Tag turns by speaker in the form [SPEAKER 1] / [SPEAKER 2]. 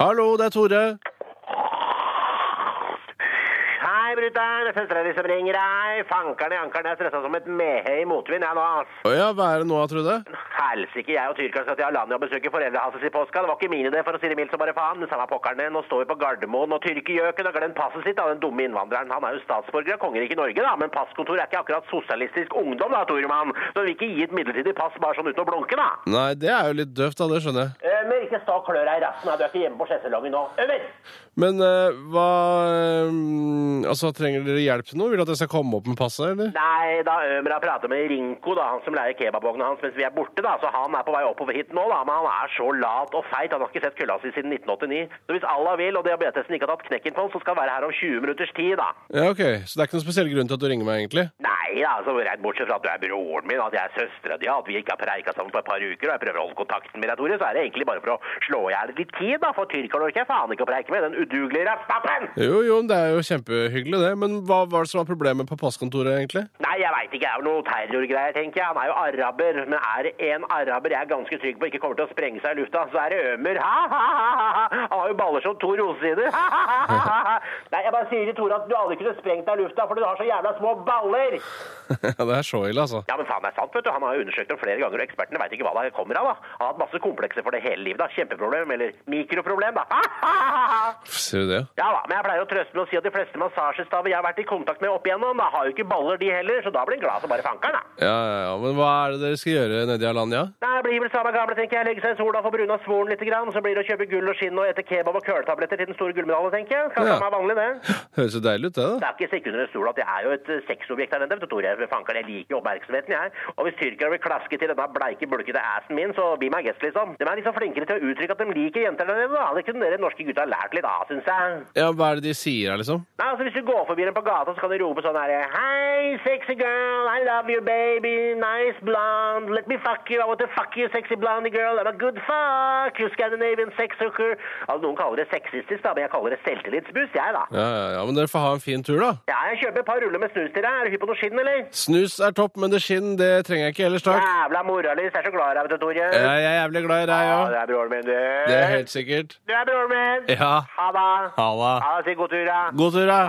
[SPEAKER 1] Hallo, det er Tore.
[SPEAKER 2] Hei, brutter'n. Det er søstera di som ringer. Hei. Fankeren i ankeren. Jeg er stressa som et mehe i motvind, jeg nå, ass.
[SPEAKER 1] Å ja, hva er det nå, Trude?
[SPEAKER 2] Helsike, jeg og tyrkeren skal til Alanya og besøke foreldrene hans i påska. Det var ikke min idé, for å si det mildt som bare faen. Men samme pokkeren det. Nå står vi på Gardermoen, og tyrkergjøken har glemt passet sitt, da, den dumme innvandreren. Han er jo statsborger av kongeriket Norge, da, men passkontor er ikke akkurat sosialistisk ungdom, da, Toremann. Så vi vil ikke gi et midlertidig pass bare sånn uten å blunke, da.
[SPEAKER 1] Nei, det er jo litt døvt, da. Det skjønner jeg.
[SPEAKER 2] Eh, Men ikke stå og klør deg i rassen, da. du er ikke hjemme på skjessalongen nå. Over!
[SPEAKER 1] Men eh, hva eh, Altså, trenger dere hjelp til noe? Vil du at jeg skal komme opp med passet, eller?
[SPEAKER 2] Nei, da Ømer har pratet med Rinko, da, han som leier kebabvogna hans mens vi er borte, da, så han er på vei oppover hit nå, da, men han er så lat og feit, han har ikke sett kølla si siden 1989. Så hvis Allah vil, og diabetesen ikke har tatt knekken på han, så skal han være her om 20 minutters tid, da.
[SPEAKER 1] Ja, ok. Så det er ikke noen spesiell grunn til at du ringer meg, egentlig?
[SPEAKER 2] Nei, da, altså, rett bortsett fra at du er broren min, at jeg er søstera di, at vi ikke har preika sammen på et par uker, og jeg prøver å holde kontakten med deg, Tore, så er det egentlig bare for å slå i hjel litt tid, da, for tyrkeren orker jeg faen ikke å preike med, den udugelige rastappen!
[SPEAKER 1] Jo, jo, det er jo kjempehyggelig, det. Men hva var det som var problemet på passkontoret, egentlig?
[SPEAKER 2] Nei, jeg veit ikke. Det er jo noe terrorgreier, tenker jeg. Han er jo araber. Men er det en araber jeg er ganske trygg på ikke kommer til å sprenge seg i lufta, så er det Ømer. Ha, ha, ha, ha, ha. Han har jo baller som to rosesider. Ha, ha, ha, ha, ha. Nei, jeg bare sier til Tore at du aldri kunne sprengt deg i lufta fordi du har så jævla små baller.
[SPEAKER 1] ja, det er så ille, altså.
[SPEAKER 2] Ja, men faen, det er sant, vet du. Han har jo undersøkt det flere ganger, og ekspertene veit ikke hva det kommer av, da. Han har hatt masse komplekser for det hele livet, da. Kjempeproblem. Eller mikroproblem, da. Ha, ha, ha, ha.
[SPEAKER 1] Ser du det?
[SPEAKER 2] Ja da, men jeg pleier å trøste med å si at de fleste massasjestaver jeg har vært i kontakt med opp igjennom, da har jo ikke baller de heller, så da blir han glad som bare fankeren, da.
[SPEAKER 1] Ja, ja, ja. Men hva er det dere skal gjøre nedi Alanya?
[SPEAKER 2] Nei, det blir vel samme gamle, tenker jeg. Legge seg i sola, få bruna svoren litt, grann, så blir det å kjøpe gull og skinn og ete kebab og køletabletter til den store gullmedaljen, tenker jeg. Kanskje
[SPEAKER 1] Ja.
[SPEAKER 2] ja. vanlig, det.
[SPEAKER 1] Høres jo deilig ut, det, da.
[SPEAKER 2] Det er ikke stikk under en stol at jeg er jo et eh, sexobjekt her nede, vet du, Tore. Jeg fanker, jeg liker jo oppmerksomheten, jeg. Og hvis tyrkere vil klaske til denne bleike, bulkete assen min, så be my guest, liksom. De er liksom flinkere til å uttrykke at de liker jenter der nede, da. Det kunne dere norske gutta lært litt av, syns jeg.
[SPEAKER 1] Ja, hva er det de sier her, liksom?
[SPEAKER 2] Nei, altså Hvis du går forbi dem på gata, så kan de rope sånn her Hei, sexy girl, I love you, baby, nice blonde, let me fuck you, I want to fuck you, sexy blondie girl, I'm a good fuck, you Scandinavian sex hooker. Altså, Noen kaller det sexistisk, da, men jeg kaller det selvtillitsbuss, jeg, da.
[SPEAKER 1] Ja, ja, ja, men dere får ha en fin tur, da.
[SPEAKER 2] Ja, jeg kjøper et par ruller med snus til deg. Er du hypp på noe skinn, eller?
[SPEAKER 1] Snus er topp, men det skinn, det trenger jeg ikke ellers, takk.
[SPEAKER 2] Jævla moralist, jeg er så glad i deg, vet du, Tore.
[SPEAKER 1] Ja, Jeg er jævlig glad i deg
[SPEAKER 2] Ja,
[SPEAKER 1] òg.
[SPEAKER 2] du er broren min, du.
[SPEAKER 1] Det er helt sikkert.
[SPEAKER 2] Du er broren min.
[SPEAKER 1] Ja.
[SPEAKER 2] Ha det.
[SPEAKER 1] Ha det.
[SPEAKER 2] Ha det, si god tur, da.
[SPEAKER 1] God tur,
[SPEAKER 2] Ha
[SPEAKER 1] da.